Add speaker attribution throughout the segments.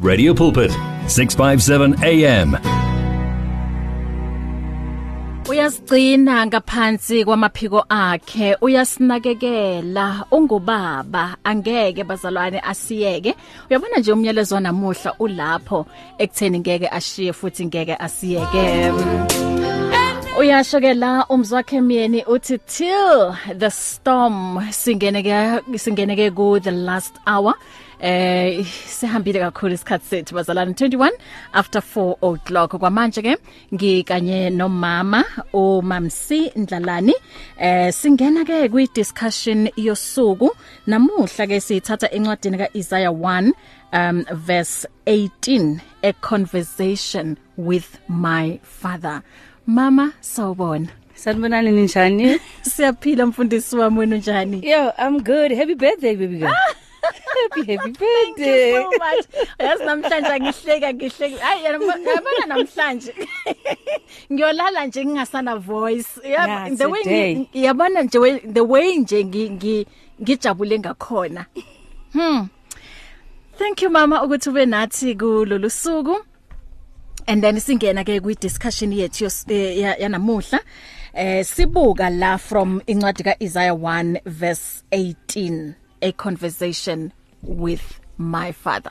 Speaker 1: Radio Pulpit, 657 AM.
Speaker 2: uyasigcina ngaphansi kwamaphiko akhe uyasinakekela ungubaba angeke bazalwane asiyeke uyabona nje umyalezo namuhla ulapho ekutheni ngeke ashiye futhi ngeke asiyeke uyashokela umzwakhe myeni uthi till the storm singeneke singeneke ku the last hour eh sihambile kakhulu isikhathi sethu bazalana 21 after 4 o'clock kwamanje ke ngikanye nomama umamsi Ndlalani eh singena ke kwi discussion yosuku namuhla ke sithatha encwadini ka Isaiah 1 um verse 18 a conversation with my father mama sawbona
Speaker 3: Sanibonani ninjani?
Speaker 2: siyaphila mfundisi wami wena njani
Speaker 3: Yo, I'm good. Happy birthday baby girl. happy happy birthday.
Speaker 2: Ah! so much yazi namhlanje ngihleka ngihleki hayi yabona namhlanje ngiyolala nje ngingasana voice
Speaker 3: Yeah,
Speaker 2: yabo
Speaker 3: it's
Speaker 2: the
Speaker 3: a
Speaker 2: way
Speaker 3: day.
Speaker 2: ngi- yabona nje we- the way nje ngi- ngi- ngijabule ngakhona hmm thank you mama ukuthi ube nathi kulolu suku and then singena ke kwi discussion yethu yos- eh, ya- yanamuhla eh sibuka la from incwadi ka Isaiah 1 verse 18 a conversation with my father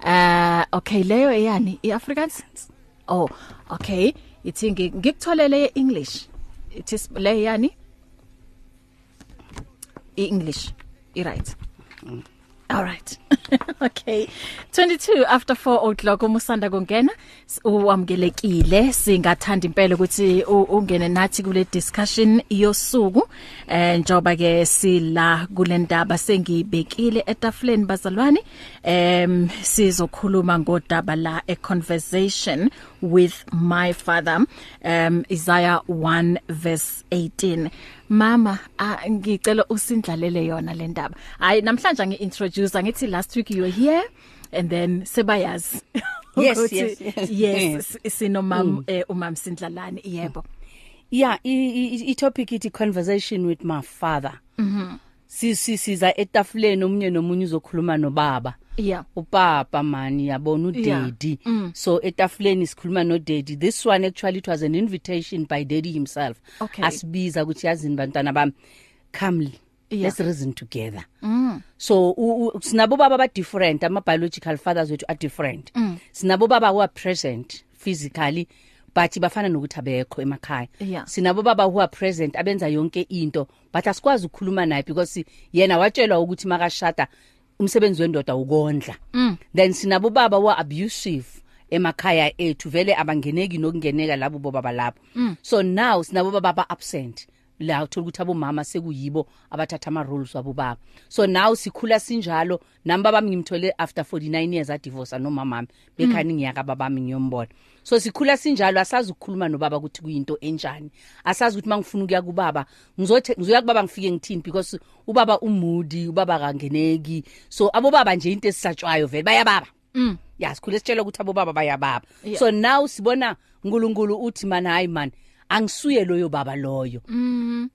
Speaker 2: uh okay leyo eyani iAfrikaans oh okay ithi ngi- ngikutholele English ithi sp- le yani iEnglish i right All right. okay. 22 after 4 o'clock umusanda kongena s- uwamkelekile singathanda impela ukuthi u- ungene nathi kule discussion yosuku eh njoba ke sila kulendaba sengibekile etafuleni bazalwane em sizokhuluma ngodaba la a conversation with my father um Isaiah 1 verse 18 mama ah, ngicela usindlalele yona le ndaba hayi namhlanje ngiintroduce ngithi last week you were here and then sebayazi
Speaker 3: Yes,
Speaker 2: Ukuthi-
Speaker 3: yes, yes. Mm.
Speaker 2: yes sinomam umamsindlalani eh, yebo
Speaker 3: Yeah, i- i i topic ithi conversation with my father. Mhm.
Speaker 2: Mm-hmm.
Speaker 3: Sisiza etafuleni omunye nomunye uzokhuluma nobaba.
Speaker 2: yeah
Speaker 3: Upapa mani yabona
Speaker 2: Yeah. Mm.
Speaker 3: udaddy. So etafuleni sikhuluma no daddy. This one actually it was an invitation by daddy himself.
Speaker 2: Okay.
Speaker 3: Asibiza ukuthi yazini bantwana bami come
Speaker 2: Yeah.
Speaker 3: let's reason together. Mm. So u- u- sinabo baba ba different ama biological fathers wethu are different. Mm. Sinabo baba who are present physically but bafana nokuthi abekho emakhaya.
Speaker 2: Yeah.
Speaker 3: Sinabo baba who are present abenza yonke into but asikwazi ukukhuluma naye because yena watshelwa ukuthi makashada umsebenzi wendoda ukondla. Mm. Then sinabo baba who are abusive emakhaya ethu vele abangeneki nokungeneka labo bobaba lapho. Mm. So now sinabo baba ba absent. la uthola ukuthi abomama sekuyibo abathatha ama roles wabo baba so now sikhula sinjalo nami babami ngimthole after 49 years a divorce nomamami bekhani ngiyaka babami ngiyombona so sikhula sinjalo asazi ukukhuluma nobaba ukuthi kuyinto enjani asazi ukuthi mangifuna ukuya kubaba ngizothe ngizoya kubaba ngifike ngithini because ubaba umudi ubaba kangeneki so abobaba nje into esisatshwayo vele bayababa mm yasikhule sitshela ukuthi abobaba bayababa
Speaker 2: Yeah.
Speaker 3: so now sibona uNkulunkulu uthi man hayi man angisuye loyo baba loyo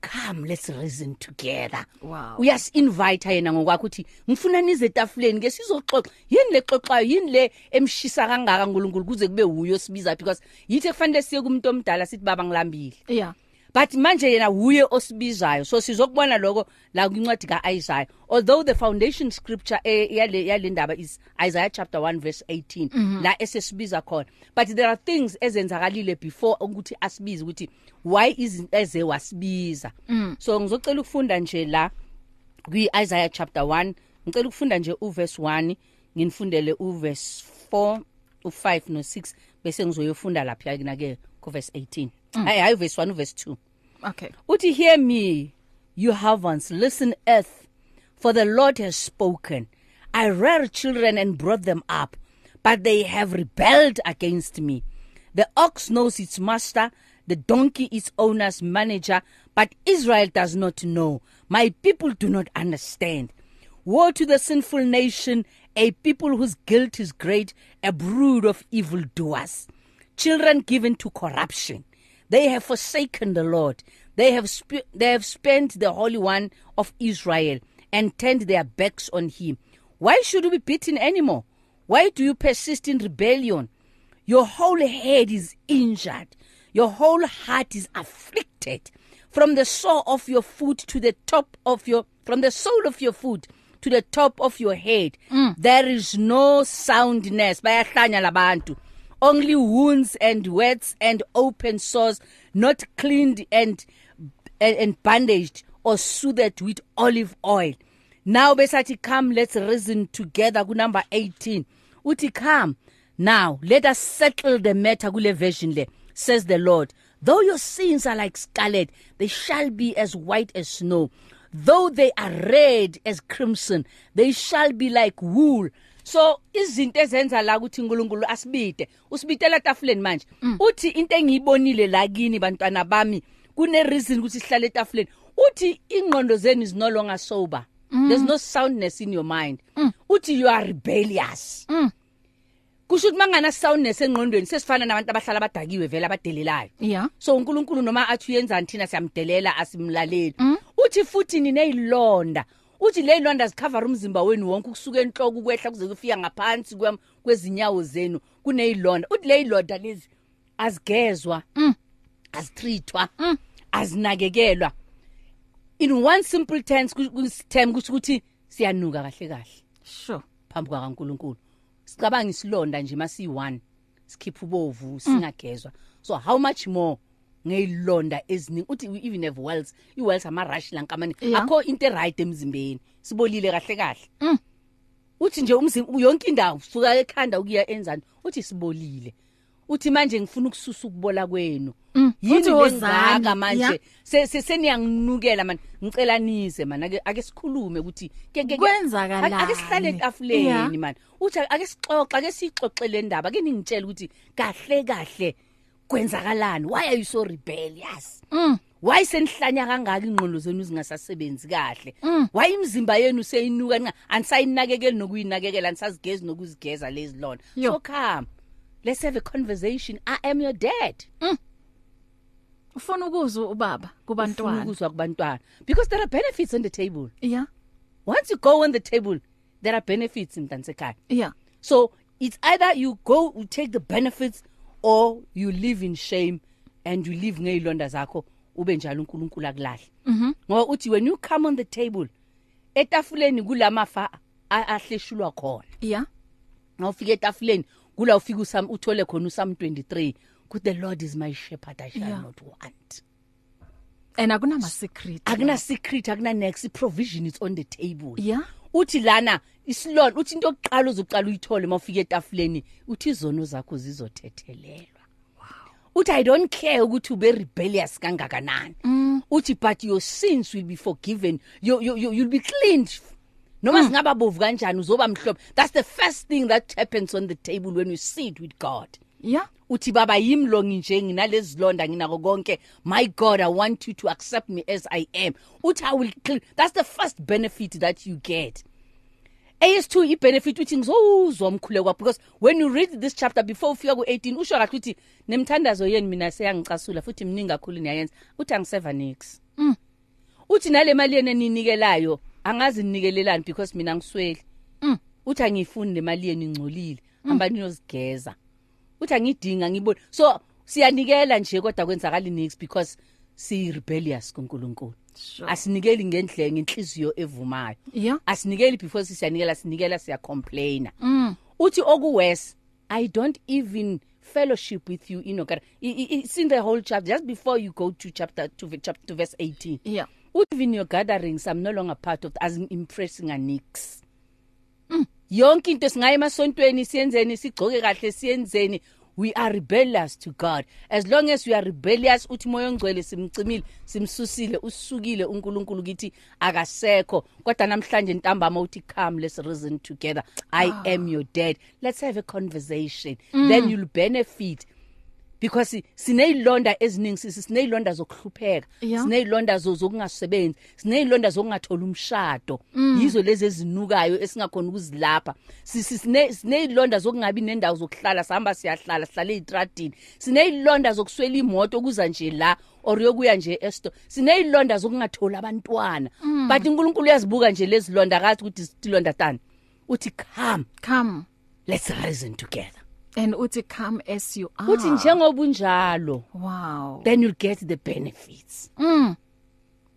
Speaker 3: come let's reason together
Speaker 2: Wow.
Speaker 3: uyas invite yena ngokwakho uthi ngifuna nize etafuleni ke sizoxoxa yini lexoxayo yini le emshisa kangaka uNkulunkulu kuze kube huyo sibiza because yithi kufanele siye kumuntu omdala sithi baba ngilambile
Speaker 2: yeah
Speaker 3: but manje yena huye osibizayo so sizokubona lokho la kwincwadi kaIsaiah although the foundation scripture eh, yale yalendaba is Isaiah chapter 1 verse 18 la esesibiza khona but there are things ezenzakalile before ukuthi asibize ukuthi why izinto eze wasibiza so ngizocela ukufunda nje la kwi Isaiah chapter 1 ngicela ukufunda nje uverse 1 nginifundele uverse 4 u5 no6 bese ngizoyofunda lapha ke na ke kuverse 18 hayi hayi verse 1 verse 2
Speaker 2: okay
Speaker 3: uthi hear me you heavens listen earth for the lord has spoken i reared children and brought them up but they have rebelled against me the ox knows its master the donkey its owner's manager but israel does not know my people do not understand Woe to the sinful nation, a people whose guilt is great, a brood of evildoers, children given to corruption. They have forsaken the Lord. They have sp- they have spent the Holy One of Israel and turned their backs on him. Why should we be beaten anymore? Why do you persist in rebellion? Your whole head is injured. Your whole heart is afflicted. From the sole of your foot to the top of your from the sole of your foot to the top of your head mm. there is no soundness. Bayahlanya labantu. Only wounds and wets and open sores not cleaned and and, and bandaged or soothed with olive oil. Now besathi come let's reason together ku number 18. Uthi come now let us settle the matter kule version le says the Lord. Though your sins are like scarlet they shall be as white as snow. Though they are red as crimson they shall be like wool. So izinto ezenza la ukuthi uNkulunkulu asibide usibitela tafuleni manje uthi into engiyibonile la kini bantwana bami kune reason ukuthi sihlale tafuleni uthi ingqondo zenu is no longer sober mm. there's no soundness in your mind mm. uthi you are rebellious
Speaker 2: Mm.
Speaker 3: kusho ukuthi mangana soundness engqondweni sesifana nabantu abahlala badakiwe vele abadelelayo
Speaker 2: Yeah.
Speaker 3: so uNkulunkulu noma athi uyenzani thina siyamdelela asimlaleli uthi futhi nineyilonda uthi leyilonda zikhavera umzimba wenu wonke kusuka enhloko ukwehla kuze kufika ngaphansi kwem- kwezinyawo zenu kuneyilonda uthi leyilonda lezi azigezwa azithreatwa azinakekelwa in one simple tense ku- ku- term kusho ukuthi siyanuka kahle kahle
Speaker 2: Sure.
Speaker 3: phambi kwaNkuluNkulu sicabanga isilonda nje masi 1 sikhipha ubovu
Speaker 2: Mm.
Speaker 3: singagezwa so how much more ngeyilonda eziningi uthi we even have wells iwells ama rash lankamane
Speaker 2: Yeah. Mm.
Speaker 3: akho into right emzimbeni sibolile kahle kahle uthi nje umzimba yonke indawo suka ekhanda ukuya enzani uthi sibolile uthi manje ngifuna ukususa ukubola kwenu yini
Speaker 2: Mm. Uthi wozani,
Speaker 3: lengaka
Speaker 2: yeah.
Speaker 3: manje Se- se- seniyanginukela man ngicelanise mana ake ake sikhulume ukuthi ke ke- ke-
Speaker 2: Kwenzakalani?
Speaker 3: ake sihlale
Speaker 2: Yeah.
Speaker 3: etafuleni man uthi ake sixoxe ake sixoxele indaba ake ningitshele ukuthi kahle kahle kwenzakalani why are you so rebellious
Speaker 2: Mm.
Speaker 3: why senihlanya kangaka ingqondo zenu zingasasebenzi kahle
Speaker 2: Mm.
Speaker 3: why imizimba yenu seyinuka nqa anisayinakekeli nokuyinakekela anisazigezi nokuzigeza lezi lona
Speaker 2: Yo.
Speaker 3: so come let's have a conversation i am your dad
Speaker 2: Ufuna ukuzwa ubaba
Speaker 3: Ufuna
Speaker 2: kubantwana.
Speaker 3: ukuzwa kubantwana because there are benefits on the table
Speaker 2: Yeah.
Speaker 3: once you go on the table there are benefits mntanisekhaya
Speaker 2: Yeah.
Speaker 3: So it's either you go you take the benefits or you live in shame and you live ngeyilonda zakho ube njalo uNkulunkulu akulahle. Mhm. Ngoba uthi when you come on the table etafuleni kulamafa a- ahleshulwa khona.
Speaker 2: Yeah.
Speaker 3: Ngawufika etafuleni kula ufika usam uthole khona usam 23 kuthi the Lord is my shepherd I shall
Speaker 2: Yeah.
Speaker 3: yeah. not want.
Speaker 2: And akunama secret.
Speaker 3: Akuna secret akuna next provision is on the table.
Speaker 2: Yeah.
Speaker 3: uthi lana isilonda uthi into yokuqala uzoqala uyithole mawufika etafuleni uthi izono zakho zizothethelelwa uthi i don't care ukuthi ube rebellious kangakanani
Speaker 2: Mm.
Speaker 3: uthi but your sins will be forgiven you, you, you, you'll be cleansed
Speaker 2: Mm.
Speaker 3: noma singaba bovu kanjani uzoba mhlophe that's the first thing that happens on the table when you sit with god
Speaker 2: Yeah.
Speaker 3: uthi baba yimlongi nje nginalezi londa nginako konke my god i want you to accept me as i am uthi i will clean that's the first benefit that you get AS2 ibenefit uthi ngizozwa umkhulekwa because when you read this chapter before ufika ku18 usho kahle uthi nemthandazo yenu mina seyangicasula futhi miningi kakhulu niyayenza uthi angiseva nix uthi nale mali yenu eninikelayo angazi ninikelelani because mina ngisweli uthi angifuni le mali yenu ingcolile hamba niyozigeza uthi angidinga ngibona so siyanikela nje kodwa kwenzakali nix because si rebellious kuNkulunkulu
Speaker 2: Sure.
Speaker 3: asinikeli ngendlenge inhliziyo evumayo
Speaker 2: Yeah.
Speaker 3: asinikeli before siyanikela sinikela siya complain uthi okuwes i don't even fellowship with you you know God it's in the whole chapter just before you go to chapter to v- chapter to verse 18
Speaker 2: Yeah.
Speaker 3: uthi in your gatherings i'm no longer part of as impressing anix Mm. yonke into singaye emasontweni siyenzeni sigcoke kahle siyenzeni we are rebellious to god as long as we are rebellious uthi moya ongcwele simcimile simsusile usukile uNkulunkulu kithi akasekho kodwa namhlanje ntambama uthi come let's reason together i ah. am your dad let's have a conversation mm. then you'll benefit because sineyilonda eziningi sisi sineyilonda zokuhlupheka
Speaker 2: Yeah.
Speaker 3: sineyilonda zo- zokungasebenzi sineyilonda zokungathola umshado yizo lezi ezinukayo esingakhona ukuzilapha sisi sine- sineyilonda zokungabi nendawo zokuhlala sihamba siyahlala sihlale eyitradini sineyilonda zokuswela imoto okuza nje la or yokuya nje esto sineyilonda zokungatholi abantwana but unkulunkulu uyazibuka nje lezi londa akathi ukuthi zilonda tani uthi come
Speaker 2: Come.
Speaker 3: let's reason together
Speaker 2: and uthi come as you are
Speaker 3: uthi njengoba unjalo
Speaker 2: wow
Speaker 3: then you'll get the benefits
Speaker 2: mm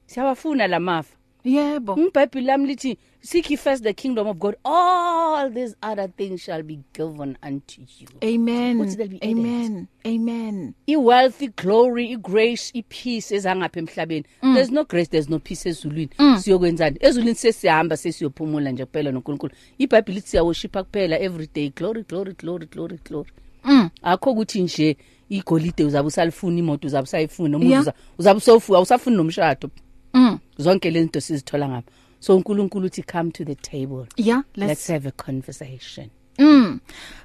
Speaker 3: siyawafuna lamafa
Speaker 2: yebo
Speaker 3: ngibhayibheli lami lithi seek ye first the kingdom of god all these other things shall be given unto you Uthi there'll
Speaker 2: amen
Speaker 3: be added.
Speaker 2: amen amen
Speaker 3: i-wealth i-glory i-grace i-peace ezangapha emhlabeni mm. there's no grace there's no peace ezulwini mm. siyokwenzani ezulwini sesiyahamba sesiyophumula nje kuphela nonkulunkulu ibhayibhile lithi siyawoshipha kuphela every day glory glory glory glory glory
Speaker 2: mm
Speaker 3: akho ukuthi nje igolide uzabe usalifuna imoto uzabe usayifuna umuzi
Speaker 2: Yeah.
Speaker 3: uza- uzabe usawufu- awusafuni nomshado
Speaker 2: mm
Speaker 3: zonke le zinto sizithola ngapha so unkulunkulu uthi come to the table
Speaker 2: yeah
Speaker 3: let's,
Speaker 2: let's
Speaker 3: let's have a conversation
Speaker 2: Mm.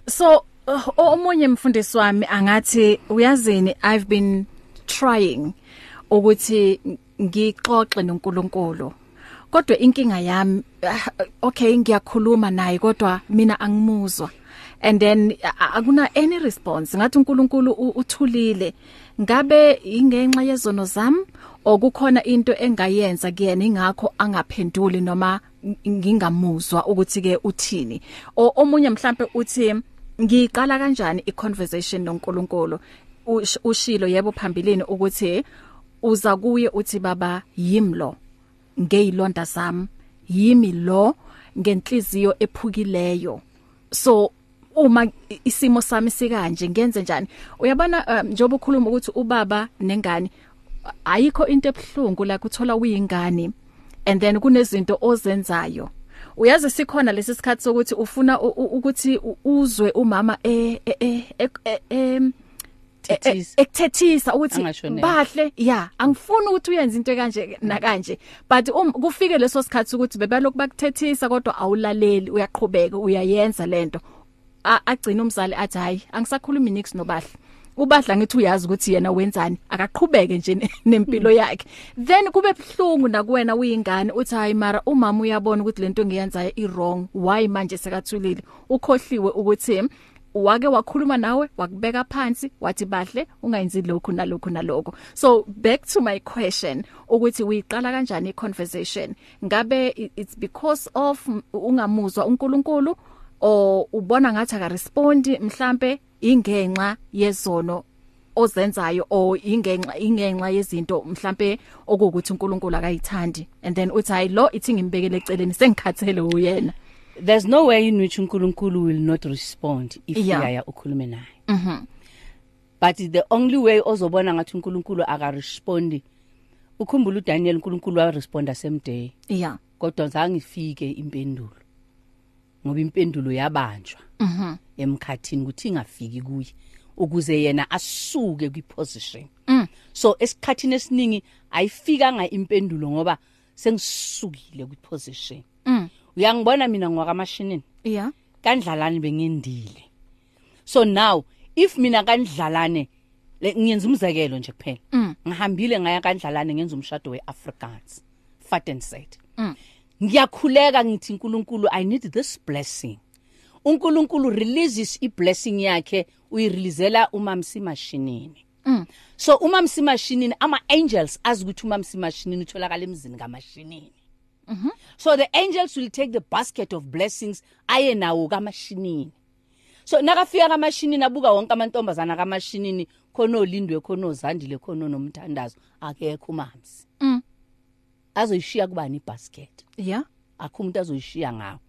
Speaker 2: So uh, omunye mfundisi wami angathi uyazini I've been trying ukuthi ngixoxe noNkulunkulu. Kodwa inkinga yami ah, okay ngiyakhuluma naye kodwa mina angimuzwa. And then a- a- akuna any response ngathi uNkulunkulu u- uthulile ngabe ingenxa yezono zami okukhona into engayenza kuyena ingakho angaphenduli noma ng- ngingamuzwa ukuthi ke uthini o omunye mhlambe uthi ngiqala kanjani iconversation noNkulunkulu Ush- ushilo yebo phambilini ukuthi uza kuye uthi baba yimlo ngeyilonda zami yimi lo ngenhliziyo ephukileyo so uma isimo sami sikanje ngenze njani uyabona um, njengoba ukhuluma ukuthi ubaba nengane ayikho into ebhlungu la kuthola uyingane and then kunezinto ozenzayo uyazi sikhona lesi sikhathi sokuthi ufuna u- u- ukuthi u- uzwe umama eh eh eh eh, eh, eh
Speaker 3: Thethisa.
Speaker 2: E-, ekuthethisa ukuthi
Speaker 3: Angashonelwa.
Speaker 2: bahle ya angifuni ukuthi uyenze into kanje na kanje but um kufike leso sikhathi ukuthi bebaloku bakuthethisa kodwa awulaleli uyaqhubeka uyayenza lento A- agcina umzali athi hayi angisakhulumi niks nobahle ubahla ngithi uyazi ukuthi yena wenzani akaqhubeke nje ne- nempilo yakhe then kube buhlungu nakuwena uyingane uthi hayi mara umama uyabona ukuthi lento engiyenzayo i wrong why manje sekathulile ukhohliwe ukuthi wake wakhuluma nawe wakubeka phansi wathi bahle ungayenzi lokhu nalokhu nalokho so back to my question ukuthi uyiqala kanjani iconversation ngabe i- it's because of m- ungamuzwa uNkulunkulu or ubona ngathi aka respond mhlambe ingenxa yezono ozenzayo or ingenxa ingenxa yezinto mhlambe okukuthi uNkulunkulu akayithandi and then uthi hayi lo ithi ngimbekele eceleni sengikhathele uyena
Speaker 3: there's no way in which uNkulunkulu will not respond if
Speaker 2: Yeah.
Speaker 3: uyaya ukhulume naye. Mhm. But the only way ozobona ngathi uNkulunkulu aka respond ukhumbula uDaniel uNkulunkulu wa responda same day
Speaker 2: yeah
Speaker 3: kodwa zange ifike impendulo. Ngoba impendulo yabanjwa
Speaker 2: mhm
Speaker 3: emkhathini ukuthi ingafiki kuye ukuze yena asuke kwiposition.
Speaker 2: Mm.
Speaker 3: So esikhathini esiningi ayifika nga impendulo ngoba sengisukile kwiposition.
Speaker 2: mm
Speaker 3: Uyangibona mina ngwa kamashinini.
Speaker 2: yeah
Speaker 3: kandlalane bengindile so now if mina kandlalane le- ngiyenza umzekelo nje kuphela
Speaker 2: Mm.
Speaker 3: ngihambile ngaya kandlalane ngenza umshado weAfrikaans Fattenset
Speaker 2: Mm.
Speaker 3: ngiyakhuleka ngithi uNkulunkulu i need this blessing uNkulunkulu releases iblessing yakhe uyireleasela umamsi mashinini
Speaker 2: Mm.
Speaker 3: so umamsi mashinini ama angels azi ukuthi umamsi mashinini utholakala emzini kamashinini so the angels will take the basket of blessings aye nawo kamashinini so nakafika kamashinini abuka wonke amantombazana kamashinini khona olindwe khona ozandile khona nomthandazo akekho umamsi
Speaker 2: Mm.
Speaker 3: azoyishiya kubani ibasket
Speaker 2: yeah
Speaker 3: akho umuntu azoyishiya ngawo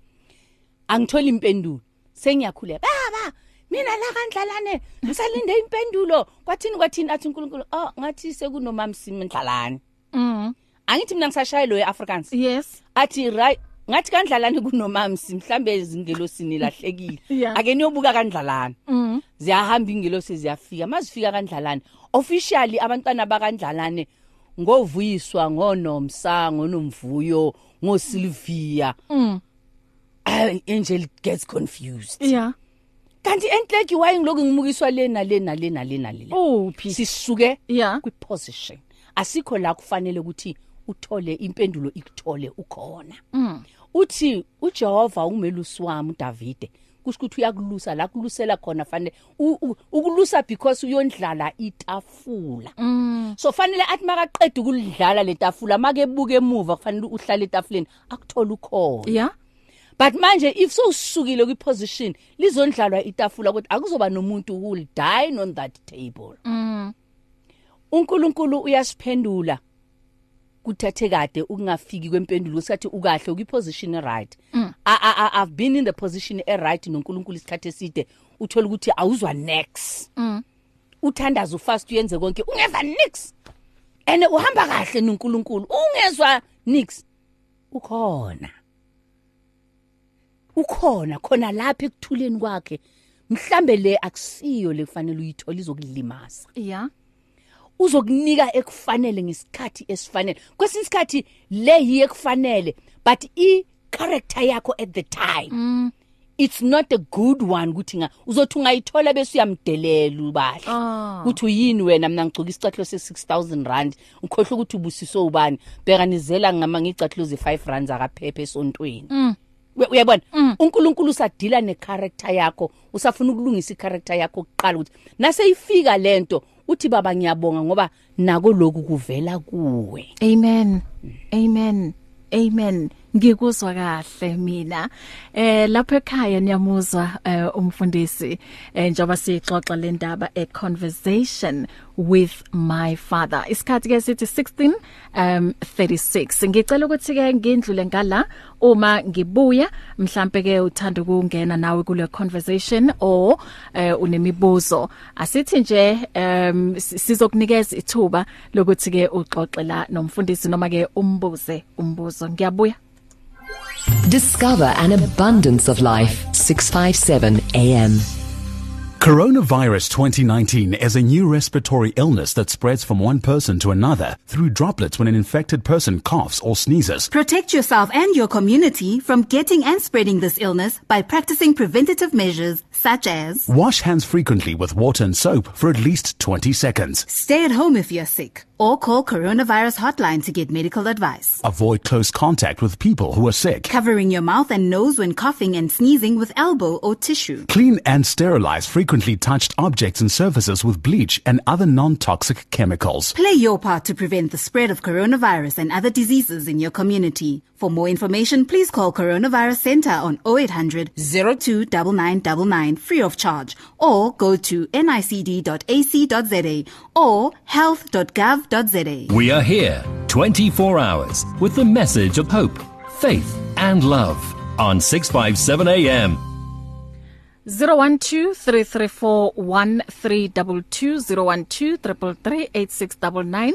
Speaker 3: angithola impendulo sengiyakhuleka baba mina la kandlalane ngisalinde impendulo kwathini kwathini athi uNkulunkulu oh ngathi sekunomamsi mndlalane
Speaker 2: mm
Speaker 3: angithi mina ngisashaye lo eAfrikaans
Speaker 2: yes
Speaker 3: athi right ngathi kandlalani kunomamsi mhlambe izingelosini lahlekile
Speaker 2: Yeah.
Speaker 3: ake niyobuka kandlalani
Speaker 2: mm
Speaker 3: ziyahamba ingelosi ziyafika mazifika kandlalani officially abantwana bakandlalane ngovuyiswa ngonomsa ngonomvuyo ngosilvia
Speaker 2: mm
Speaker 3: eh, angel gets confused
Speaker 2: yeah
Speaker 3: kanti enhleki waye ngiloku ngimukiswa lena lena lena lena lena
Speaker 2: uphi
Speaker 3: sisuke
Speaker 2: yeah
Speaker 3: kwiposition asikho la kufanele ukuthi uthole impendulo ikuthole ukhona
Speaker 2: mm
Speaker 3: uthi uJehova ungumelusi wami uDavide kusho ukuthi uyakulusa la kulusela khona fanele u- u- ukulusa because uyondlala itafula
Speaker 2: mm
Speaker 3: so fanele athi makaqeda ukulidlala letafula makebuka emuva kufanele uhlale etafuleni akuthola ukhona
Speaker 2: yeah
Speaker 3: but manje if sowusukile kwi position lizondlalwa itafula ukuthi akuzoba nomuntu who will dine on that table mm uNkulunkulu uyasiphendula kuthathe kade ukungafiki kwempendulo usathi ukahle ukwi position right mm. I, I, i've been in the position e right noNkulunkulu isikhathe eside uthola ukuthi awuzwa next mm. uthandaza ufast uyenze konke ungeva nix ene uhamba kahle noNkulunkulu ungezwa nix ukhona ukhona khona lapha ekuthuleni kwakhe mhlambe le akusiyo lekufanele uyithola izokulimaza
Speaker 2: yeah
Speaker 3: uzokunika ekufanele ngesikhathi esifanele kwesinye isikhathi le yiye ekufanele but i character yakho at the time mm. it's not a good one ukuthi nga uzothi ungayithola bese uyamdelela ubahle
Speaker 2: Ah.
Speaker 3: ukuthi uyini wena mina ngigcoka isicathulo se6000 rand ukhohle ukuthi ubusiso ubani bheka nizela ngama ngicathulo ze5 rand akaphephe esontweni mm. uyabona uNkulunkulu usadila necharacter yakho usafuna ukulungisa icharacter yakho kuqala ukuthi naseyifika lento uthi baba ngiyabonga ngoba nako lokhu kuvela kuwe
Speaker 2: Amen. Amen. Amen. Ngikuzwa kahle mina. Eh lapho ekhaya niyamuzwa eh, umfundisi eh, njengoba sixoxa le ndaba a conversation with my father. Isikhathi ke sithi 16 um 36. Ngicela ukuthi ke ngindlule ngala uma ngibuya mhlambe ke uthanda ukungena nawe kule conversation or eh, unemibuzo asithi nje um sizokunikeza ithuba lokuthi ke uxoxe la nomfundisi noma ke umbuze umbuzo ngiyabuya
Speaker 4: Discover an abundance of life. 657 AM.
Speaker 5: Coronavirus 2019 is a new respiratory illness that spreads from one person to another through droplets when an infected person coughs or sneezes.
Speaker 6: Protect yourself and your community from getting and spreading this illness by practicing preventative measures such as
Speaker 5: Wash hands frequently with water and soap for at least 20 seconds.
Speaker 6: stay at home if you're sick or call coronavirus hotline to get medical advice.
Speaker 5: Avoid close contact with people who are sick.
Speaker 6: Covering your mouth and nose when coughing and sneezing with elbow or tissue.
Speaker 5: Clean and sterilize frequently touched objects and surfaces with bleach and other non-toxic chemicals.
Speaker 6: Play your part to prevent the spread of coronavirus and other diseases in your community. For more information, please call Coronavirus Center on 0800 029999 free of charge or go to nicd.ac.za or health.gov.za.
Speaker 1: We are here 24 hours with the message of hope, faith, and love on 657 AM.
Speaker 2: 0123341322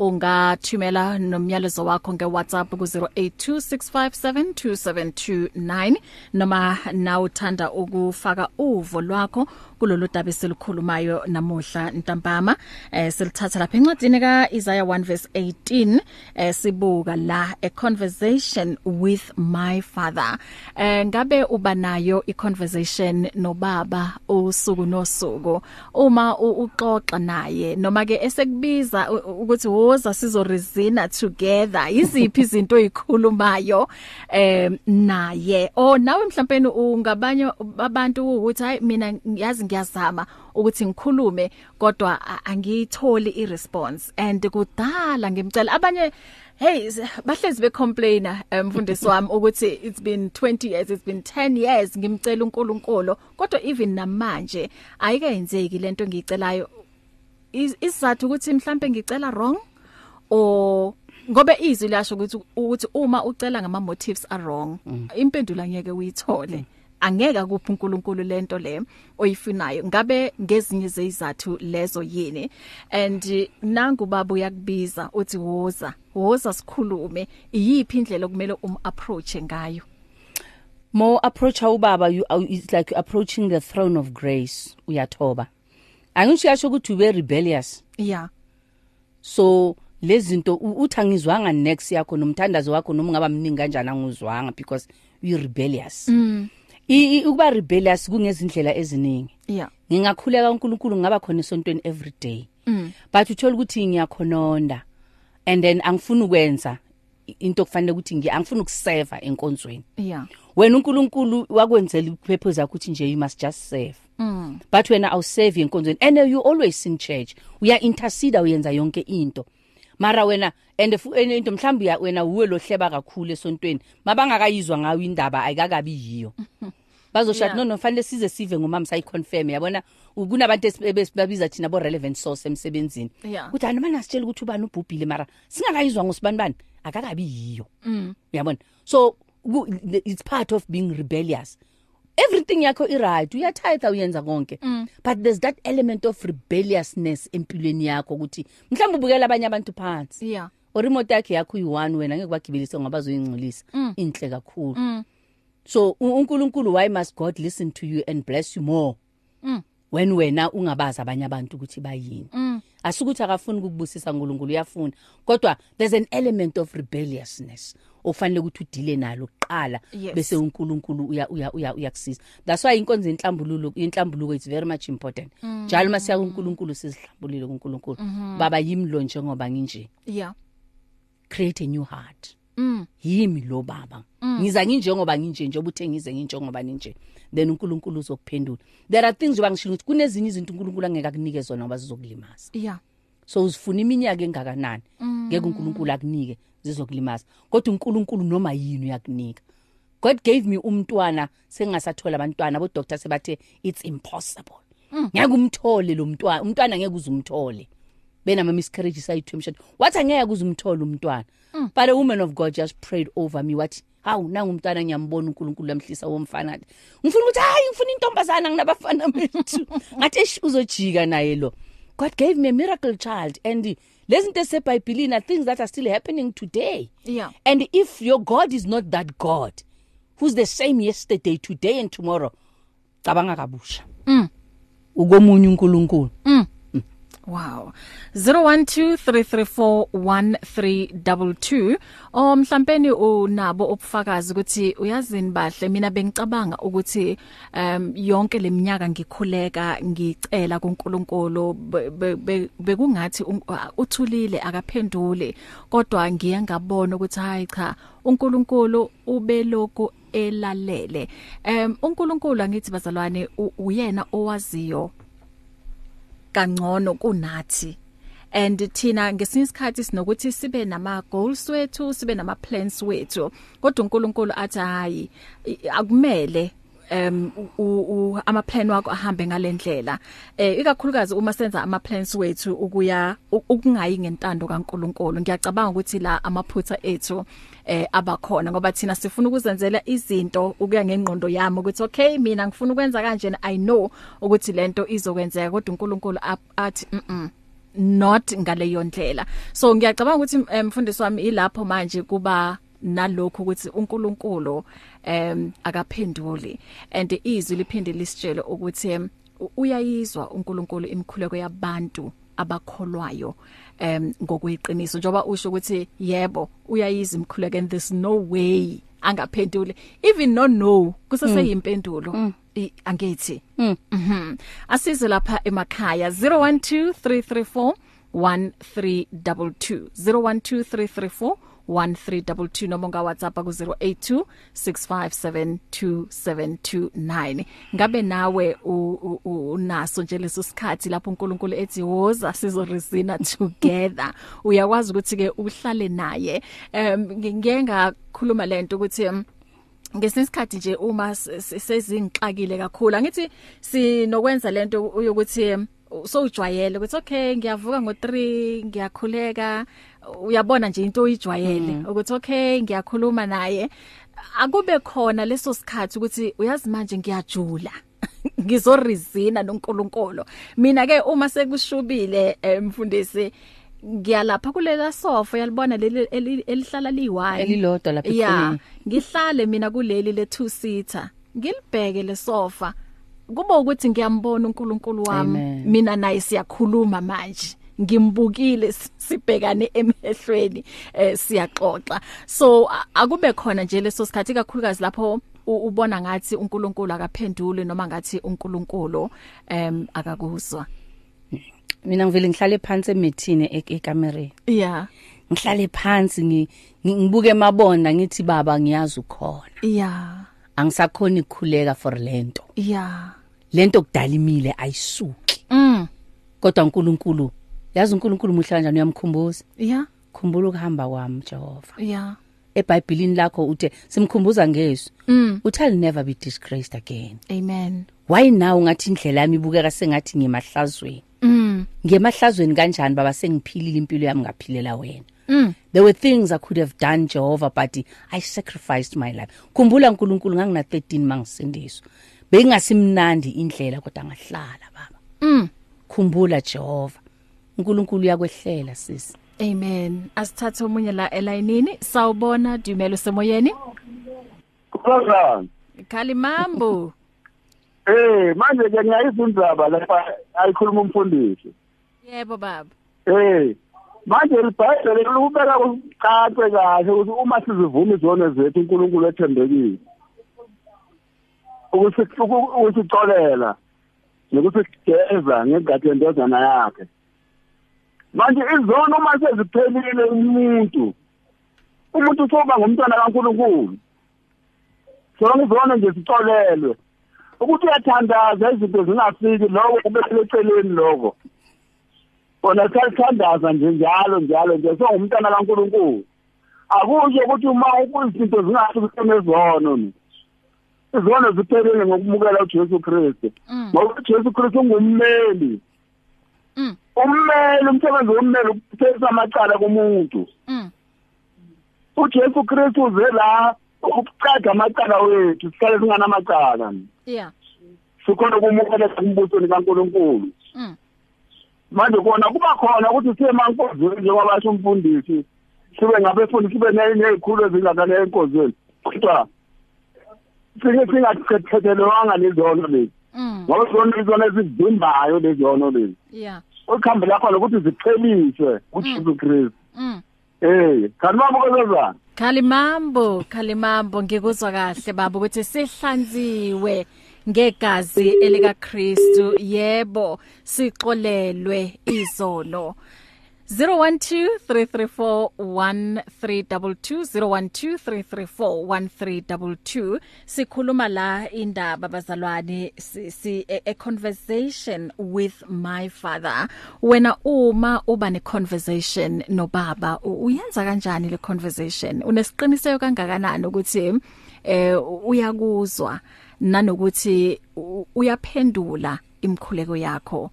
Speaker 2: ungathumela nomyalezo wakho ngewhatsapp ku-0826572729 noma na uthanda ukufaka uvo lwakho kulolu daba esilikhulumayo namuhla ntambama eh, silithatha lapha encwadini ka-isaya 1 verse 18 eh, sibuka la a conversation with my father eh, ngabe uba nayo i-conversation nobaba usuku nosuku uma u- uxoxa naye noma ke esekubiza u- u- ukuthi woza sizorizina together iziphi izinto oyikhulumayo em eh, naye o nawe mhlawumbe ungabanye abantu ukuthi hayi mina yazi ngiyazama ukuthi ngikhulume kodwa a- angiyitholi iresponse and kudala ngimcela abanye hey s- bahlezi becomplainer eh, mfundisi wami ukuthi it's been 20 years it's been 10 years ngimcela uNkulunkulu kodwa even namanje ayike yenzeki lento engicelayo Is- isizathu ukuthi mhlambe ngicela wrong or ngobe izwi lasho ukuthi ukuthi uma ucela ngama motives are wrong impendulo angeke uyithole angeka kuphi uNkulunkulu lento le oyifunayo ngabe ngezinye zezizathu lezo yini and eh, nangu baba uyakubiza uthi woza woza sikhulume iyiphi indlela okumele um approach ngayo
Speaker 3: more approach ubaba you uh, it's like approaching the throne of grace uyathoba angisho yasho ukuthi ube rebellious
Speaker 2: yeah
Speaker 3: so lezinto u- uthi angizwanga next yakho nomthandazo wakho noma ungaba mningi kanjani anguzwanga because you rebellious mm. I, i, ukuba rebellious kungezindlela eziningi
Speaker 2: yeah
Speaker 3: ngingakhuleka uNkulunkulu ngaba khona esontweni every day mm. but uthola ukuthi ngiyakhononda and then angifuni ukwenza i- into okufanele ukuthi ngi angifuni ukuserva enkonzweni
Speaker 2: yeah
Speaker 3: wena uNkulunkulu wakwenzela ipurpose yakho ukuthi nje you must just serve mm. but wena awuserve enkonzweni and you always in church uya intercede uyenza yonke into mara wena and fu- enye into mhlawumbe uya- wena uwe lohleba kakhulu esontweni mabangakayizwa ngayo indaba ayikakabi yiyo bazoshathi
Speaker 2: Yeah.
Speaker 3: no no fanele size sive ngumama sayiconfirm yabona u- kunabantu esi- ebesibabiza thina bo-relevant source emsebenzini
Speaker 2: Yeah.
Speaker 3: ukuthi anoma nasitshela ukuthi ubani ubhubhile mara singakayizwa ngosibani bani akakabi yiyo uyabona so ku- the- it's part of being rebellious everything yakho i-right uyatitha uyenza konke mm. but there's that element of rebelliousness empilweni yakho ukuthi mhlawumbe ubukela abanye abantu phansi
Speaker 2: yeah
Speaker 3: or imoto yakhe yakho uyi-one wena ngeke bagibelise ngoba zoyingcolisa inhle kakhulu so u- unkulunkulu why must god listen to you and bless you more when wena ungabazi abanye abantu ukuthi bayini asukuthi akafuni ukukubusisa nkulunkulu uyafuna kodwa there's an element of rebelliousness okufanele ukuthi udile nalo kuqala
Speaker 2: Yes.
Speaker 3: bese unkulunkulu uya- uya- uya- uyakusiza that's why inkonzo yenhlambululo yenhlambuluko it's very much important njalo uma siya kunkulunkulu sizihlambulile kunkulunkulu baba yimi lo njengoba nginje
Speaker 2: yeah
Speaker 3: create a new heart yimi lo baba ngiza nginjengoba nginje njengoba uthe ngize nginjengoba ninje then unkulunkulu uzokuphendula there are things njengoba ngishilo ukuthi kunezinye izinto unkulunkulu angeke akunike zona ngoba zizokulimaza
Speaker 2: yeah
Speaker 3: so uzifuna iminyaka engakanani ngeke unkulunkulu akunike zizokulimaza kodwa unkulunkulu noma yini uyakunika god gave me umntwana sengingasathola abantwana bodoktar sebathe it's impossible ngeke umthole lo mntwana umntwana ngeke uze umthole benama-miscarriages ayi-two emshado wathi angeke uze umthole umntwana but a woman of god just prayed over me wathi hawu nangumntwana ngiyambona unkulunkulu lamhlisa womfana ngifuna ukuthi hayi ngifuna intombazana nginabafana bethu ngathi esh uzojika naye lo god gave me a miracle child and lezinto esebhayibhilini are things that are still happening today
Speaker 2: Yeah.
Speaker 3: and if your god is not that god who's the same yesterday today and tomorrow cabanga kabusha ukomunye unkulunkulu
Speaker 2: Wow. 0123341322 or Oh, mhlampeni unabo obufakazi ukuthi uyazini bahle mina bengicabanga ukuthi um yonke leminyaka ngikhuleka ngicela kuNkulunkulu be- be- be- bekungathi un- ah, uthulile akaphendule kodwa ngiye ngabona ukuthi hayi cha uNkulunkulu ubeloko elalele. Um uNkulunkulu angithi bazalwane u- uyena owaziyo kangcono kunathi and thina ngesinye isikhathi sinokuthi sibe nama goals wethu sibe nama plans wethu kodwa uNkulunkulu athi hayi i- akumele um u- u- ama plan wakho ahambe ngalendlela eh ikakhulukazi uma senza ama plans wethu ukuya u- ukungayi ngentando kaNkuluNkulu ngiyacabanga ukuthi la amaphutha ethu eh abakhona ngoba thina sifuna ukuzenzela izinto ukuya ngengqondo yami ukuthi okay mina ngifuna ukwenza kanje i know ukuthi lento izokwenzeka kodwa uNkulunkulu ap- athi mm not ngaleyo ndlela so ngiyacabanga ukuthi eh, mfundisi wami ilapho manje kuba nalokho ukuthi uNkulunkulu em akaphenduli and izwi liphinde lisitshele ukuthi em, u- uyayizwa uNkulunkulu imikhuleko yabantu abakholwayo em ngokweqiniso njoba usho ukuthi yebo uyayiza imikhuleko and there's no way angaphenduli even no no kusese yimpendulo I- angithi Mhm. Asize lapha emakhaya 0123341322 0123341322 noma nga WhatsApp ku 0826572729 ngabe nawe u- u- u- unaso nje leso sikhathi lapho uNkulunkulu ethi woza sizo resina together uyakwazi ukuthi ke uhlale naye em ngeke ngakhuluma lento ukuthi em, ngesinsikhathi nje uma se- se- sezingixakile kakhulu angithi sinokwenza lento yokuthi um, sowujwayele ukuthi okay ngiyavuka ngo3 ngiyakhuleka uyabona nje into
Speaker 3: Mm.
Speaker 2: oyijwayele ukuthi okay ngiyakhuluma naye akube khona leso sikhathi ukuthi uyazi manje ngiyajula ngizorizina noNkulunkulu mina ke uma sekushubile eh, mfundisi ngiyalapha kulela sofa yalibona leli eli- elihlala liyi1
Speaker 3: Elilodwa lapha
Speaker 2: yeah
Speaker 3: ekhoneni.
Speaker 2: ngihlale mina kuleli le 2 seater ngilibheke le sofa kube ukuthi ngiyambona uNkulunkulu wami
Speaker 3: Amen.
Speaker 2: mina naye siyakhuluma manje ngimbukile s- sibhekane emehlweni eh siyaxoxa so a- akube khona nje leso sikhathi kakhulukazi lapho u- ubona ngathi uNkulunkulu akaphendule noma ngathi uNkulunkulu em akakuzwa
Speaker 3: mina ngivele ngihlale phansi emethini ek- ekamereni
Speaker 2: yeah
Speaker 3: ngihlale phansi ngi- ngi- ngibuke mabona ngithi baba ngiyazi ukhona
Speaker 2: yeah
Speaker 3: angisakhona ukukhuleka for lento
Speaker 2: yeah
Speaker 3: lento kudala imile ayisuki
Speaker 2: mm
Speaker 3: kodwa uNkulunkulu yazi uNkulunkulu muhla kanjani uyamkhumbuza
Speaker 2: yeah
Speaker 3: khumbula ukuhamba kwami Jehova
Speaker 2: yeah
Speaker 3: ebhayibhelini lakho uthe simkhumbuza ngesu mm. uthi i'll never be disgraced again
Speaker 2: amen
Speaker 3: why now ngathi indlela yami ibukeka sengathi ngemahlazweni
Speaker 2: mm
Speaker 3: ngemahlazweni kanjani baba sengiphilile impilo yami ngaphilela wena mm. there were things i could have done jehova but i sacrificed my life khumbula nkulunkulu ngangina 13 mangisindiswa beyingasimnandi indlela kodwa ngahlala baba
Speaker 2: mm
Speaker 3: khumbula jehova unkulunkulu uyakwehlela sisi
Speaker 2: amen asithathe umunye la elayinini sawubona dumelo semoyeni
Speaker 7: Kukhona.
Speaker 2: khalimambo
Speaker 7: Eh manje ke ngiyayizindaba lapha ayikhuluma umfundisi.
Speaker 2: yebo baba
Speaker 7: Eh manje libhayibheli likubeka kucace kahle ukuthi uma sizivuma izono zethu uNkulunkulu ethembekile. Ukuthi ukusixolela nokuthi sigeza ngegathendozana yakhe. Manje izono uma seziphelile umuntu umuntu usoba ngumntwana kaNkulunkulu. Sonke izono nje sixolelwe. Ukuthi uyathandaza izinto zingafiki lokho kubekele eceleni lokho. Bona salithandaza nje njalo njalo nje songumntana kaNkuluNkulu. Akusho ukuthi uma ukuzinto zingafiki ezono ni. Izono ziphelele ngokumukela uJesu Kristu. Ngoba uJesu Kristu ungummeli.
Speaker 2: Mm.
Speaker 7: Ummeli umsebenzi wommeli ukuphelisa amacala komuntu.
Speaker 2: mm
Speaker 7: uJesu Kristu uze la ukucada amacala wethu sihlale singanamacala
Speaker 2: yeah
Speaker 7: sikhona ukumukela kumbusweni kaNkuluNkulu
Speaker 2: mm
Speaker 7: manje kona kuba khona ukuthi siye mankonzweni njengabasho umfundisi sibe ngabefundi sibe ne- nezikhulu ezingakale enkonzweni kodwa singe singakhethelwanga lezono lezi
Speaker 2: mm
Speaker 7: ngoba zona izona ezivimbayo lezono lezi
Speaker 2: yeah
Speaker 7: ukhambi lakho lokuthi ziqheliswe uJesu Kristu
Speaker 2: mm
Speaker 7: eh kanibamba kwezana
Speaker 2: Khalimambo, khalimambo ngikuzwa kahle baba ukuthi sihlanziwe ngegazi elika Kristu yebo sixolelwe izono 0123341322 sikhuluma la indaba bazalwane si, si a, a conversation with my father wena uma uba ne conversation no baba u- uyenza kanjani le conversation unesiqiniseko kangakanani ukuthi eh uyakuzwa nanokuthi u- uyaphendula imkhuleko yakho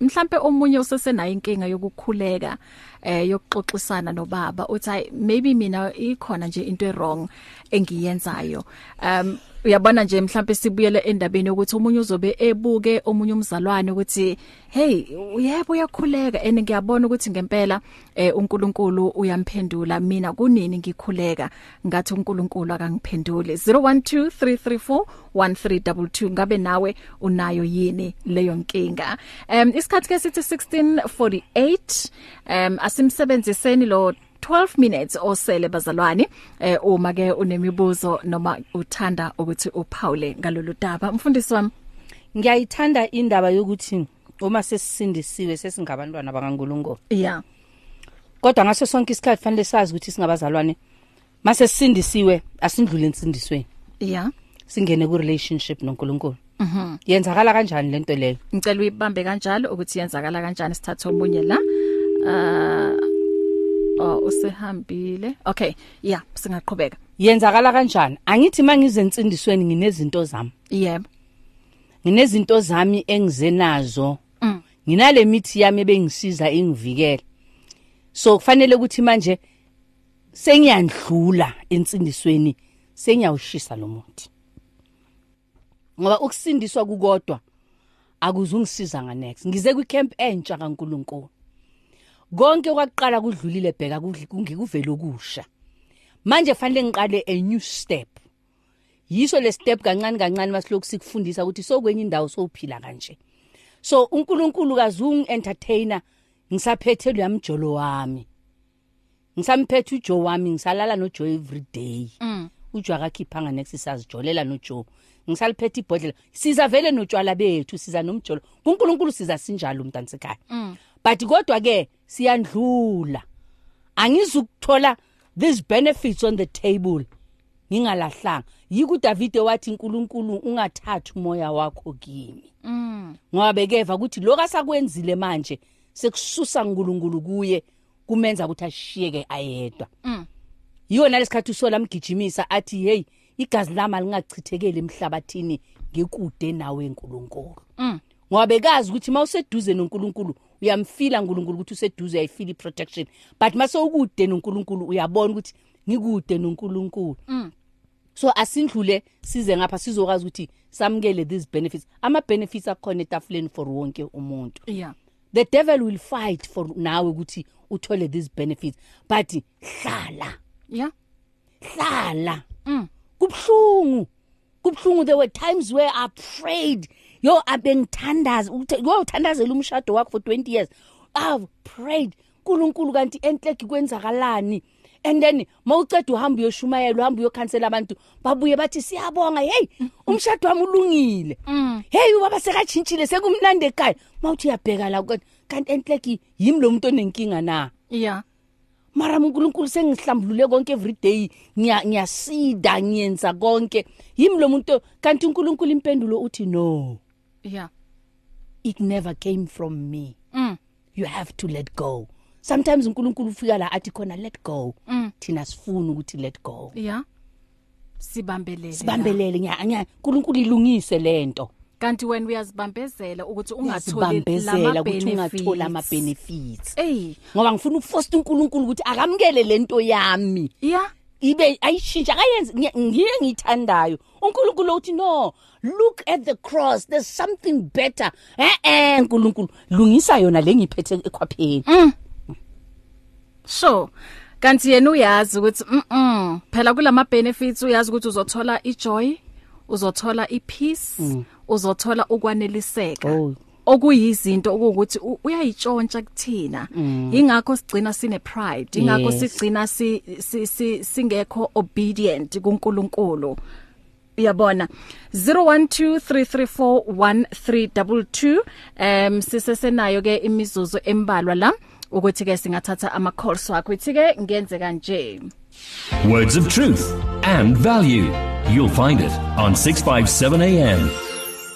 Speaker 2: mhlambe omunye usesenayo inkinga yokukhuleka eh yokuxoxisana nobaba uthi hayi maybe mina ikhona nje into wrong engiyenzayo um uyabona nje mhlambe sibuyele endabeni ukuthi umunye uzobe ebuke omunye umzalwane ukuthi hey yebo uyakhuleka and ngiyabona ukuthi ngempela eh uNkulunkulu uyamphendula mina kunini ngikhuleka ngathi uNkulunkulu akangiphenduli 0123341322 ngabe nawe unayo yini leyo nkinga um isikhathi ke sithi 1648 um asimsebenziseni lo 12 minutes osele bazalwane eh uma ke unemibuzo noma uthanda ukuthi uphawule ngalolu daba mfundisi wami
Speaker 3: ngiyayithanda indaba yokuthi uma sesisindisiwe sesingabantwana bakaNkulunkulu
Speaker 2: yeah
Speaker 3: kodwa ngaso sonke isikhathi fanele sazi ukuthi singabazalwane mase sisindisiwe asindlule insindisweni
Speaker 2: yeah
Speaker 3: singene ku relationship noNkulunkulu mhm yenzakala kanjani lento leyo
Speaker 2: ngicela uyibambe kanjalo ukuthi yenzakala kanjani sithathe omunye la uh oh usehambile okay yeah singaqhubeka
Speaker 3: yenzakala kanjani angithi mangizensindisweni nginezinto zami
Speaker 2: yebo
Speaker 3: nginezinto zami engizenazo
Speaker 2: Mm.
Speaker 3: nginale mithi yami ebengisiza ingivikela so kufanele ukuthi manje sengiyandlula insindisweni sengiyawushisa lo muthi ngoba ukusindiswa kukodwa akuzungisiza nga next ngize kwi camp entsha kaNkuluNkulu konke okwaqala kudlulile bheka kudli- kungikuvela okusha manje fanele ngiqale a new step yiso le step kancane kancane masiloku sikufundisa ukuthi so kwenye indawo sophila kanje so uNkulunkulu kazungi entertainer ngisaphethe luyamjolo wami ngisamphethe uJo wami ngisalala noJo every day
Speaker 2: Mm.
Speaker 3: uJo akakhipha nga next sisazijolela noJo ngisaliphethe ibhodlela siza vele notshwala bethu siza nomjolo kuNkulunkulu siza sinjalo umntantsi ekhaya
Speaker 2: Mm.
Speaker 3: but kodwa ke siyandlula angizukuthola these benefits on the table ngingalahlanga yiku Davide wathi uNkulunkulu ungathathi umoya wakho kimi
Speaker 2: mm
Speaker 3: ngoba bekeva ukuthi lokho asakwenzile manje sekususa ngulunkulu kuye kumenza ukuthi ashiyeke ayedwa yiyo nalesikhathi usola mgijimisa athi hey igazi lami lingachithekeli emhlabathini ngikude nawe enkulunkulu ngoba bekazi ukuthi mawuseduze noNkulunkulu uyamfila uNkulunkulu ukuthi useduze uyayifila iprotection but mase ukude noNkulunkulu uyabona ukuthi ngikude noNkulunkulu so asindlule size ngapha sizokwazi ukuthi samukele these benefits ama benefits akhona etafuleni for wonke umuntu
Speaker 2: yeah
Speaker 3: the devil will fight for nawe ukuthi uthole these benefits but hlala
Speaker 2: yeah
Speaker 3: hlala kubhlungu kubhlungu there were times where i prayed yo abengithandaza ukuthi yo uthandazela umshado wakho for 20 years i've prayed uNkulunkulu kanti enhleki kwenzakalani and then mawuceda uhamba uyoshumayela uhamba uyokhansela abantu babuye bathi siyabonga hey umshado wami ulungile hey ubaba sekatshintshile sekumnandi ekhaya mawuthi uyabheka la kanti kanti enhleki yimi lo muntu onenkinga na
Speaker 2: yeah
Speaker 3: mara uNkulunkulu sengihlambulule konke every day ngiya ngiyasida ngiyenza konke yimi lo muntu kanti uNkulunkulu impendulo uthi no
Speaker 2: yeah
Speaker 3: it never came from me mm. you have to let go sometimes uNkulunkulu ufika la athi khona let go mm. thina sifuna ukuthi let go
Speaker 2: yeah sibambelele la.
Speaker 3: sibambelele nya nya uNkulunkulu ilungise lento
Speaker 2: kanti wena uyazibambezela ukuthi ungatholi
Speaker 3: sibambezela
Speaker 2: lama
Speaker 3: ukuthi ungathola ama
Speaker 2: benefits
Speaker 3: benefits
Speaker 2: ey
Speaker 3: ngoba ngifuna ukufosta uNkulunkulu ukuthi akamukele lento yami
Speaker 2: yeah
Speaker 3: ibe ayishintsha akayenzi ngiye- ngiye ngithandayo uNkulunkulu uthi no look at the cross there's something better eh eh uNkulunkulu lungisa yona lengiphethe ekhwapheni
Speaker 2: so kanti yena uyazi ukuthi mhm phela kulama benefits uyazi ukuthi uzothola ijoy uzothola ipeace uzothola ukwaneliseka
Speaker 3: Mm. Oh.
Speaker 2: okuyizinto ukuthi uyayitshontsha kuthina ingakho sigcina sine pride ingakho
Speaker 3: Mm. Yes.
Speaker 2: sigcina si si- si- singekho obedient kuNkulunkulu uyabona 0123341322 em sisesenayo ke imizuzu embalwa la ukuthi ke singathatha ama calls wakho ithi ke ngenze kanje
Speaker 1: Words of truth and value. You'll find it on 657 AM.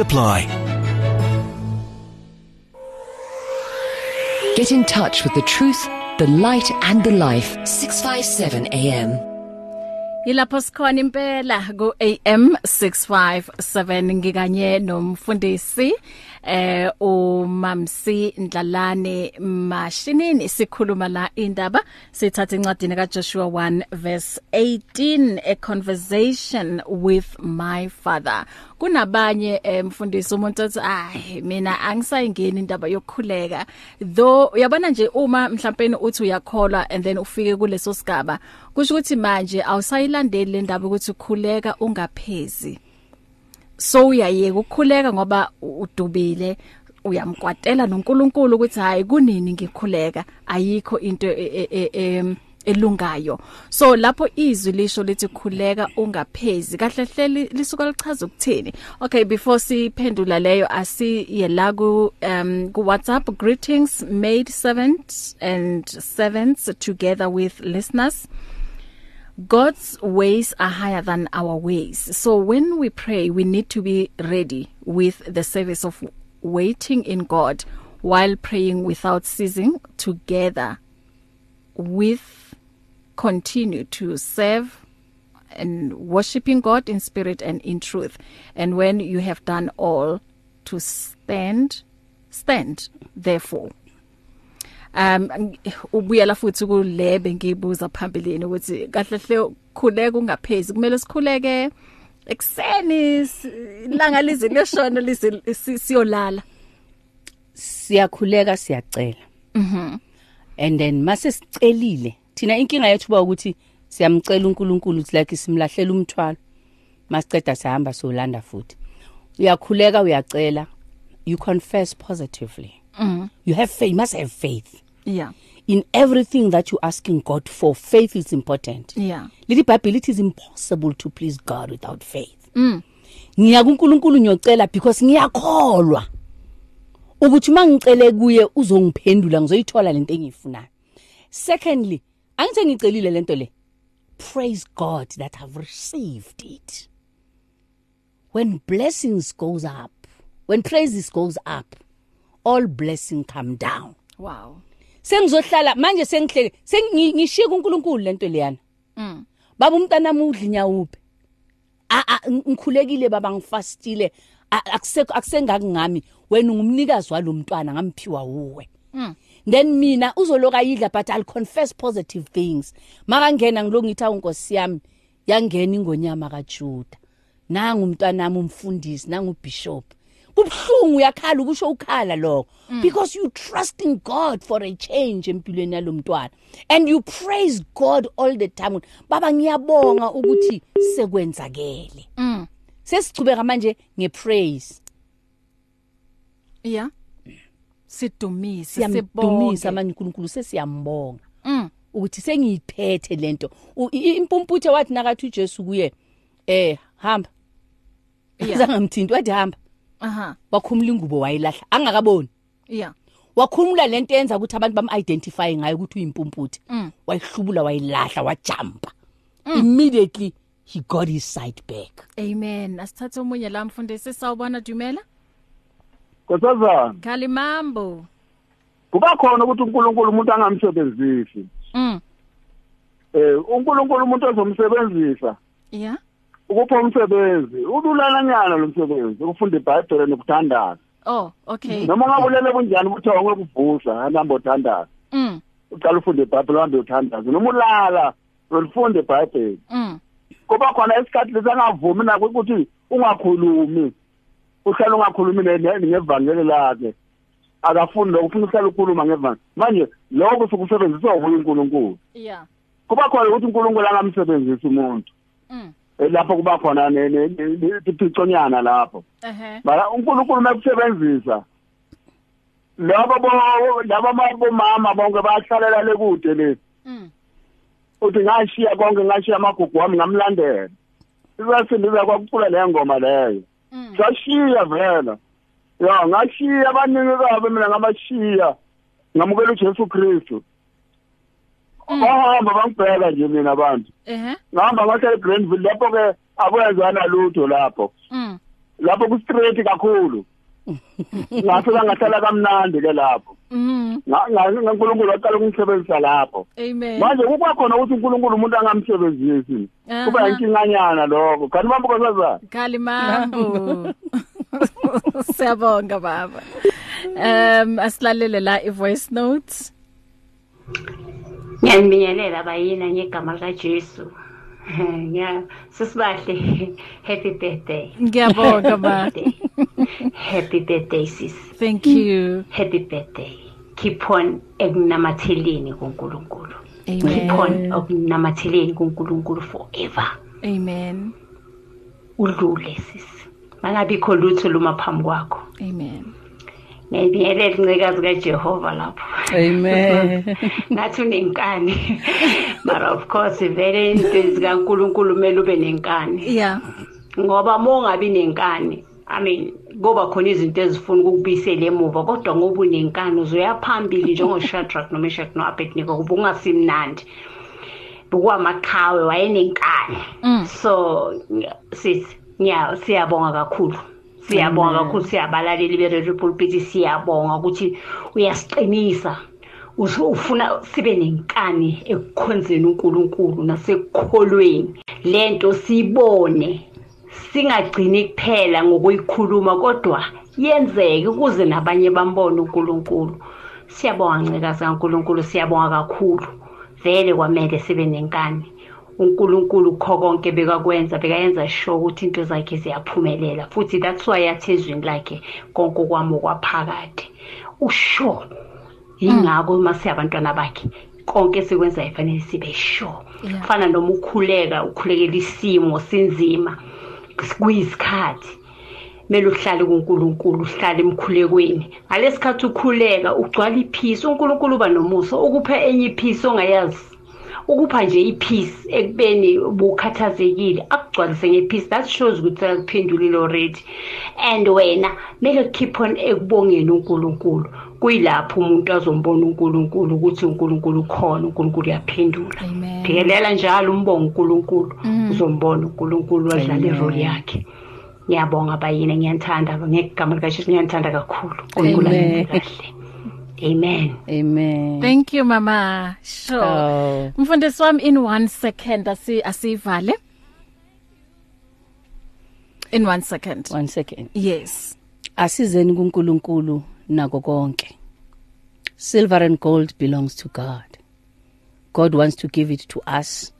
Speaker 8: apply.
Speaker 4: Get in touch with the truth, the light, and the life. 657 AM.
Speaker 2: Yilapho sikhona impela ku AM 657 ngikanye nomfundisi eh umamsi Ndlalane Mashinini sikhuluma la indaba sithatha incwadi ka Joshua 1 verse 18 a conversation with my father kunabanye eh, mfundisi umuntu othi ay mina angisayingeni indaba yokukhuleka though uyabona nje uma mhlawumbe uthi uyakholwa and then ufike kuleso sigaba kusho ukuthi manje awusayilandeli le ndaba ukuthi ukhuleka ungaphezi so uyayeka ukukhuleka ngoba u- udubile uyamkwatela noNkulunkulu ukuthi hayi kunini ngikhuleka ayikho into e- e- e- em, elungayo so lapho izwi lisho lithi khuleka ungaphezi kahle hleli lisuka lichaza ukuthini okay before siphendula leyo asiye la ku um ku WhatsApp greetings made servants and servants together with listeners God's ways are higher than our ways. So when we pray, we need to be ready with the service of waiting in God while praying without ceasing together with continue to serve and worshiping God in spirit and in truth. And when you have done all to stand stand therefore um ng- ubuyela futhi kulebe ngibuza phambilini ukuthi kahle hle khuleka ungaphezi kumele sikhuleke ekseni s- ilanga lize leshona lize si- siyolala
Speaker 3: siyakhuleka siyacela mhm and then mase sicelile thina inkinga yethu ba ukuthi siyamcela uNkulunkulu ukuthi like simlahlela umthwalo masiceda sihamba solanda futhi uyakhuleka uyacela you confess positively mhm Mm. You have faith, you must have faith.
Speaker 2: yeah
Speaker 3: In everything that you're asking God for, faith is important.
Speaker 2: yeah
Speaker 3: Lithi Bible it is impossible to please God without faith. Mm. Ngiya kuNkulunkulu ngiyocela because ngiyakholwa ukuthi mangicele kuye uzongiphendula ngizoyithola lento engiyifunayo. Secondly, angithe ngicelile lento le. Praise God that I've received it. When blessings goes up, when praises goes up, all blessing come down.
Speaker 2: wow
Speaker 3: sengizohlala manje sengihlele sengishika uNkulunkulu lento leyana
Speaker 2: Mm.
Speaker 3: baba umntana mudli nyawuphe a a ng- ngikhulekile baba ngifastile A- akusekho akusengakungami wena ungumnikazi walomntwana ngamphiwa uwe then mina uzoloka idla but i'll confess positive things maka ngena ngilongithi awunkosi yami yangena ingonyama kaJuda nanga umntwana nami umfundisi nanga ubishop kubhlungu uyakhala ukusho ukhala lokho
Speaker 2: Mm.
Speaker 3: because you trusting God for a change empilweni yalomntwana and you praise God all the time baba ngiyabonga ukuthi sekwenzakele
Speaker 2: Mm.
Speaker 3: sesichubeka manje ngepraise
Speaker 2: yeah sidumise
Speaker 3: siyamdumisa
Speaker 2: sibonga
Speaker 3: manje uNkulunkulu sesiyambonga
Speaker 2: Mm.
Speaker 3: ukuthi sengiyiphethe lento U- i- impumputhe wathi nakathi uJesu kuye eh hamba
Speaker 2: Yeah.
Speaker 3: zangamthinti wathi hamba
Speaker 2: aha
Speaker 3: wakhumula ingubo wayilahla angakaboni
Speaker 2: yeah
Speaker 3: wakhumula lento yenza ukuthi abantu bamidentify ngayo ukuthi uyimpumputhe wayihlubula wayilahla wajumpa Mm. immediately he got his sight back
Speaker 2: amen asithathe umunye la mfundisi sawubona dumela
Speaker 7: Nkosazana,
Speaker 2: kalimambo
Speaker 7: kuba khona ukuthi uNkulunkulu umuntu angamsebenzisi.
Speaker 2: mm
Speaker 7: Eh uNkulunkulu umuntu ozomsebenzisa
Speaker 2: yeah
Speaker 7: ukupha umsebenzi, ululana nyana lo msebenzi, ukufunda iBhayibheli nokuthandaza.
Speaker 2: oh okay
Speaker 7: Noma ungabulele kunjani ukuthi awonge kuvusa, hamba uthandaza.
Speaker 2: mm
Speaker 7: Uqala ufunde iBhayibheli uhambe uthandaza. Noma ulala, ulifunde iBhayibheli.
Speaker 2: mm
Speaker 7: kuba khona isikhathi lesingavumi nako ukuthi ungakhulumi uhlala ungakhulumi ne- ne- ngevangeli lakhe akafuni lokho ufuna uhlala ukhuluma ngevangeli manje lokho sokusebenziswa ubuye uNkulunkulu
Speaker 2: yeah
Speaker 7: kuba khona ukuthi uNkulunkulu angamsebenzisi umuntu
Speaker 2: mm
Speaker 7: Eh, lapho kuba khona ne- ne- ne- ne- iphiconyana lapho
Speaker 2: ehe
Speaker 7: mara uNkulunkulu makusebenzisa labo bo- labo abomama bonke bayahlalela le kude lesi
Speaker 2: mm
Speaker 7: uthi ngashiya konke ngashiya amagugu wami ngamlandela izasindisa kwakucula leyo ngoma leyo
Speaker 2: Mm.
Speaker 7: sashiya vela ya ngashiya abaningi kabi mina ngabashiya ngamukela ujesu kristu
Speaker 2: Mm.
Speaker 7: bahamba bangibheka nje mina abantu
Speaker 2: ehe
Speaker 7: ngahamba ngahlala egrandville lapho-ke akwenzana lutho lapho
Speaker 2: mm
Speaker 7: lapho ku-straight kakhulu ngasela ngahlala kamnandi-ke lapho
Speaker 2: mm Eh.
Speaker 7: Nga- nga- ngankulunkulu waqala ukungisebenzisa lapho
Speaker 2: amen
Speaker 7: manje kubakhona ukuthi uNkulunkulu umuntu angamsebenzisi
Speaker 2: Aha.
Speaker 7: kuba inkinganyana lokho kanti bambe kosaza
Speaker 2: Kalimambo. Siyabonga baba. Um asilalele la ivoice notes.
Speaker 9: Ngiyaminyelela bayina ngegama likaJesu. Ngiya sisibahle happy birthday.
Speaker 2: Ngiyabonga ba.
Speaker 9: Birthday. Happy birthday sis.
Speaker 2: Thank you.
Speaker 9: Happy birthday. Keep on ekunamatheleni kuNkulunkulu. Keep on
Speaker 2: Amen.
Speaker 9: ekunamatheleni kuNkulunkulu forever.
Speaker 2: Amen.
Speaker 9: Udlule sis. Mangabikho lutho luma phambi kwakho.
Speaker 2: Amen.
Speaker 9: Ngiyabingelela incekazi kaJehova lapho.
Speaker 3: amen
Speaker 9: ngathi unenkani mara of course vele into zikaNkuluNkulu kumele ube nenkani
Speaker 2: Yeah.
Speaker 9: ngoba mongabi nenkani i mean kuba khona izinto ezifuna ukukubisela emuva kodwa ngoba unenkani uzoya phambili njengoShadrach noMeshach noAbednego kuba ungasimnandi bukwamakhawe wayenenkani so sithi ngiya siyabonga kakhulu siyabonga kakhulu siyabalaleli be-radio pulpit siyabonga ukuthi uyasiqinisa Usu- ufuna sibe nenkani ekukhonzeni uNkulunkulu nasekukholweni lento siyibone singagcini kuphela ngokuyikhuluma kodwa yenzeke ukuze nabanye bambone uNkulunkulu siyabonga ncikazi kaNkulunkulu siyabonga kakhulu vele kwamele sibe nenkani uNkulunkulu kho konke bekakwenza bekayenza sure ukuthi into zakhe ziyaphumelela futhi that's why yathezwini lakhe konke kwami kwaphakade usho yingakho uma siyabantwana bakhe konke sikwenzayo fanele sibe sure
Speaker 2: Yeah.
Speaker 9: kufana noma ukhuleka ukhulekela isimo sinzima kuyisikhathi kumele uhlale kuNkulunkulu uhlale emkhulekweni ngalesikhathi ukhuleka ugcwala iphisi uNkulunkulu uba nomuso ukupha enye iphisi ongayazi ukupha nje ipeace ekubeni bukhathazekile akugcwalise ngepeace that shows ukuthi akuphendulile already and wena mele keep on ekubongeni uNkulunkulu kuyilapho umuntu azombona uNkulunkulu ukuthi uNkulunkulu ukhona uNkulunkulu uyaphendula
Speaker 2: Amen.
Speaker 9: phikelela njalo umbonga uNkulunkulu uzombona uNkulunkulu wadlala irole yakhe ngiyabonga bayini ngiyanthanda ngegama likaJesu ngiyanthanda kakhulu uNkulunkulu
Speaker 3: Amen.
Speaker 9: kahle amen
Speaker 3: amen
Speaker 2: Thank you mama. Sure.
Speaker 3: Oh.
Speaker 2: Mfundisi wami in 1 second asi asivale. In 1 second.
Speaker 3: one second
Speaker 2: Yes.
Speaker 3: asizeni kuNkulunkulu nako konke silver and gold belongs to God God wants to give it to us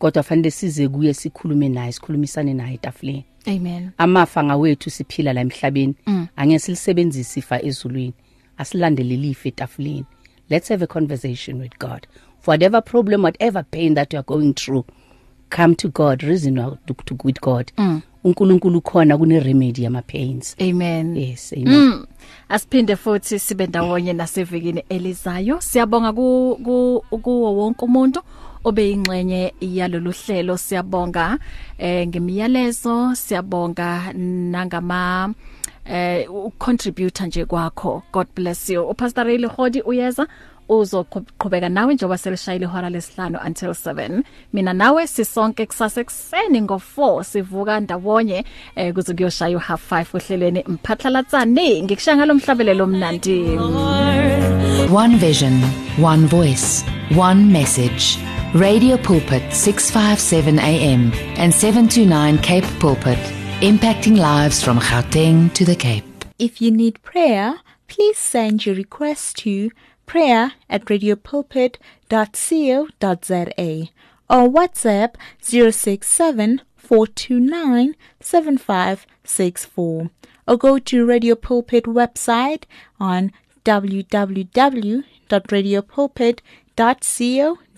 Speaker 3: kodwa fanele size kuye sikhulume naye sikhulumisane naye etafuleni
Speaker 2: Amen.
Speaker 3: amafa ngawethu siphila la emhlabeni angeke silisebenzise ifa ezulwini asilandele lifa etafuleni let's have a conversation with God for whatever problem whatever pain that you are going through come to God reason out to- with God uNkulunkulu khona kune remedy yama pains
Speaker 2: Amen.
Speaker 3: yes amen
Speaker 2: Mm. Asiphinde futhi sibe ndawonye nasevikini elizayo. Siyabonga ku ku- kuwo wonke umuntu obeyingxenye yalolu hlelo. Siyabonga eh ngemiyalezo, siyabonga nangama eh ucontributor nje kwakho. God bless you. Upastor Riley Hodi uyeza uzoqhubeka nawe njengoba selishayile ihora lesihlanu until 7 mina nawe sisonke kusase kuseni ngo4 sivuka ndawonye eh, kuze kuyoshaya u-half 5 ohlelweni mphatlalatsane ngikushaya ngalomhlabelelo mnandi
Speaker 4: One vision, one voice, one message. Radio Pulpit 657 AM and 729 Cape Pulpit, impacting lives from Gauteng to the Cape.
Speaker 10: If you need prayer, please send your request to prayer at radiopulpit.co.za or WhatsApp 067 429 7564 or go to Radio Pulpit website on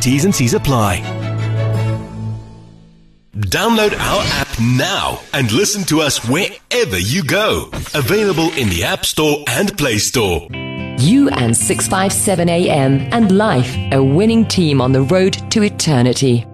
Speaker 8: T's and C's apply. Download our app now and listen to us wherever you go. Available in the App Store and Play Store.
Speaker 4: You and 657 AM and life, a winning team on the road to eternity.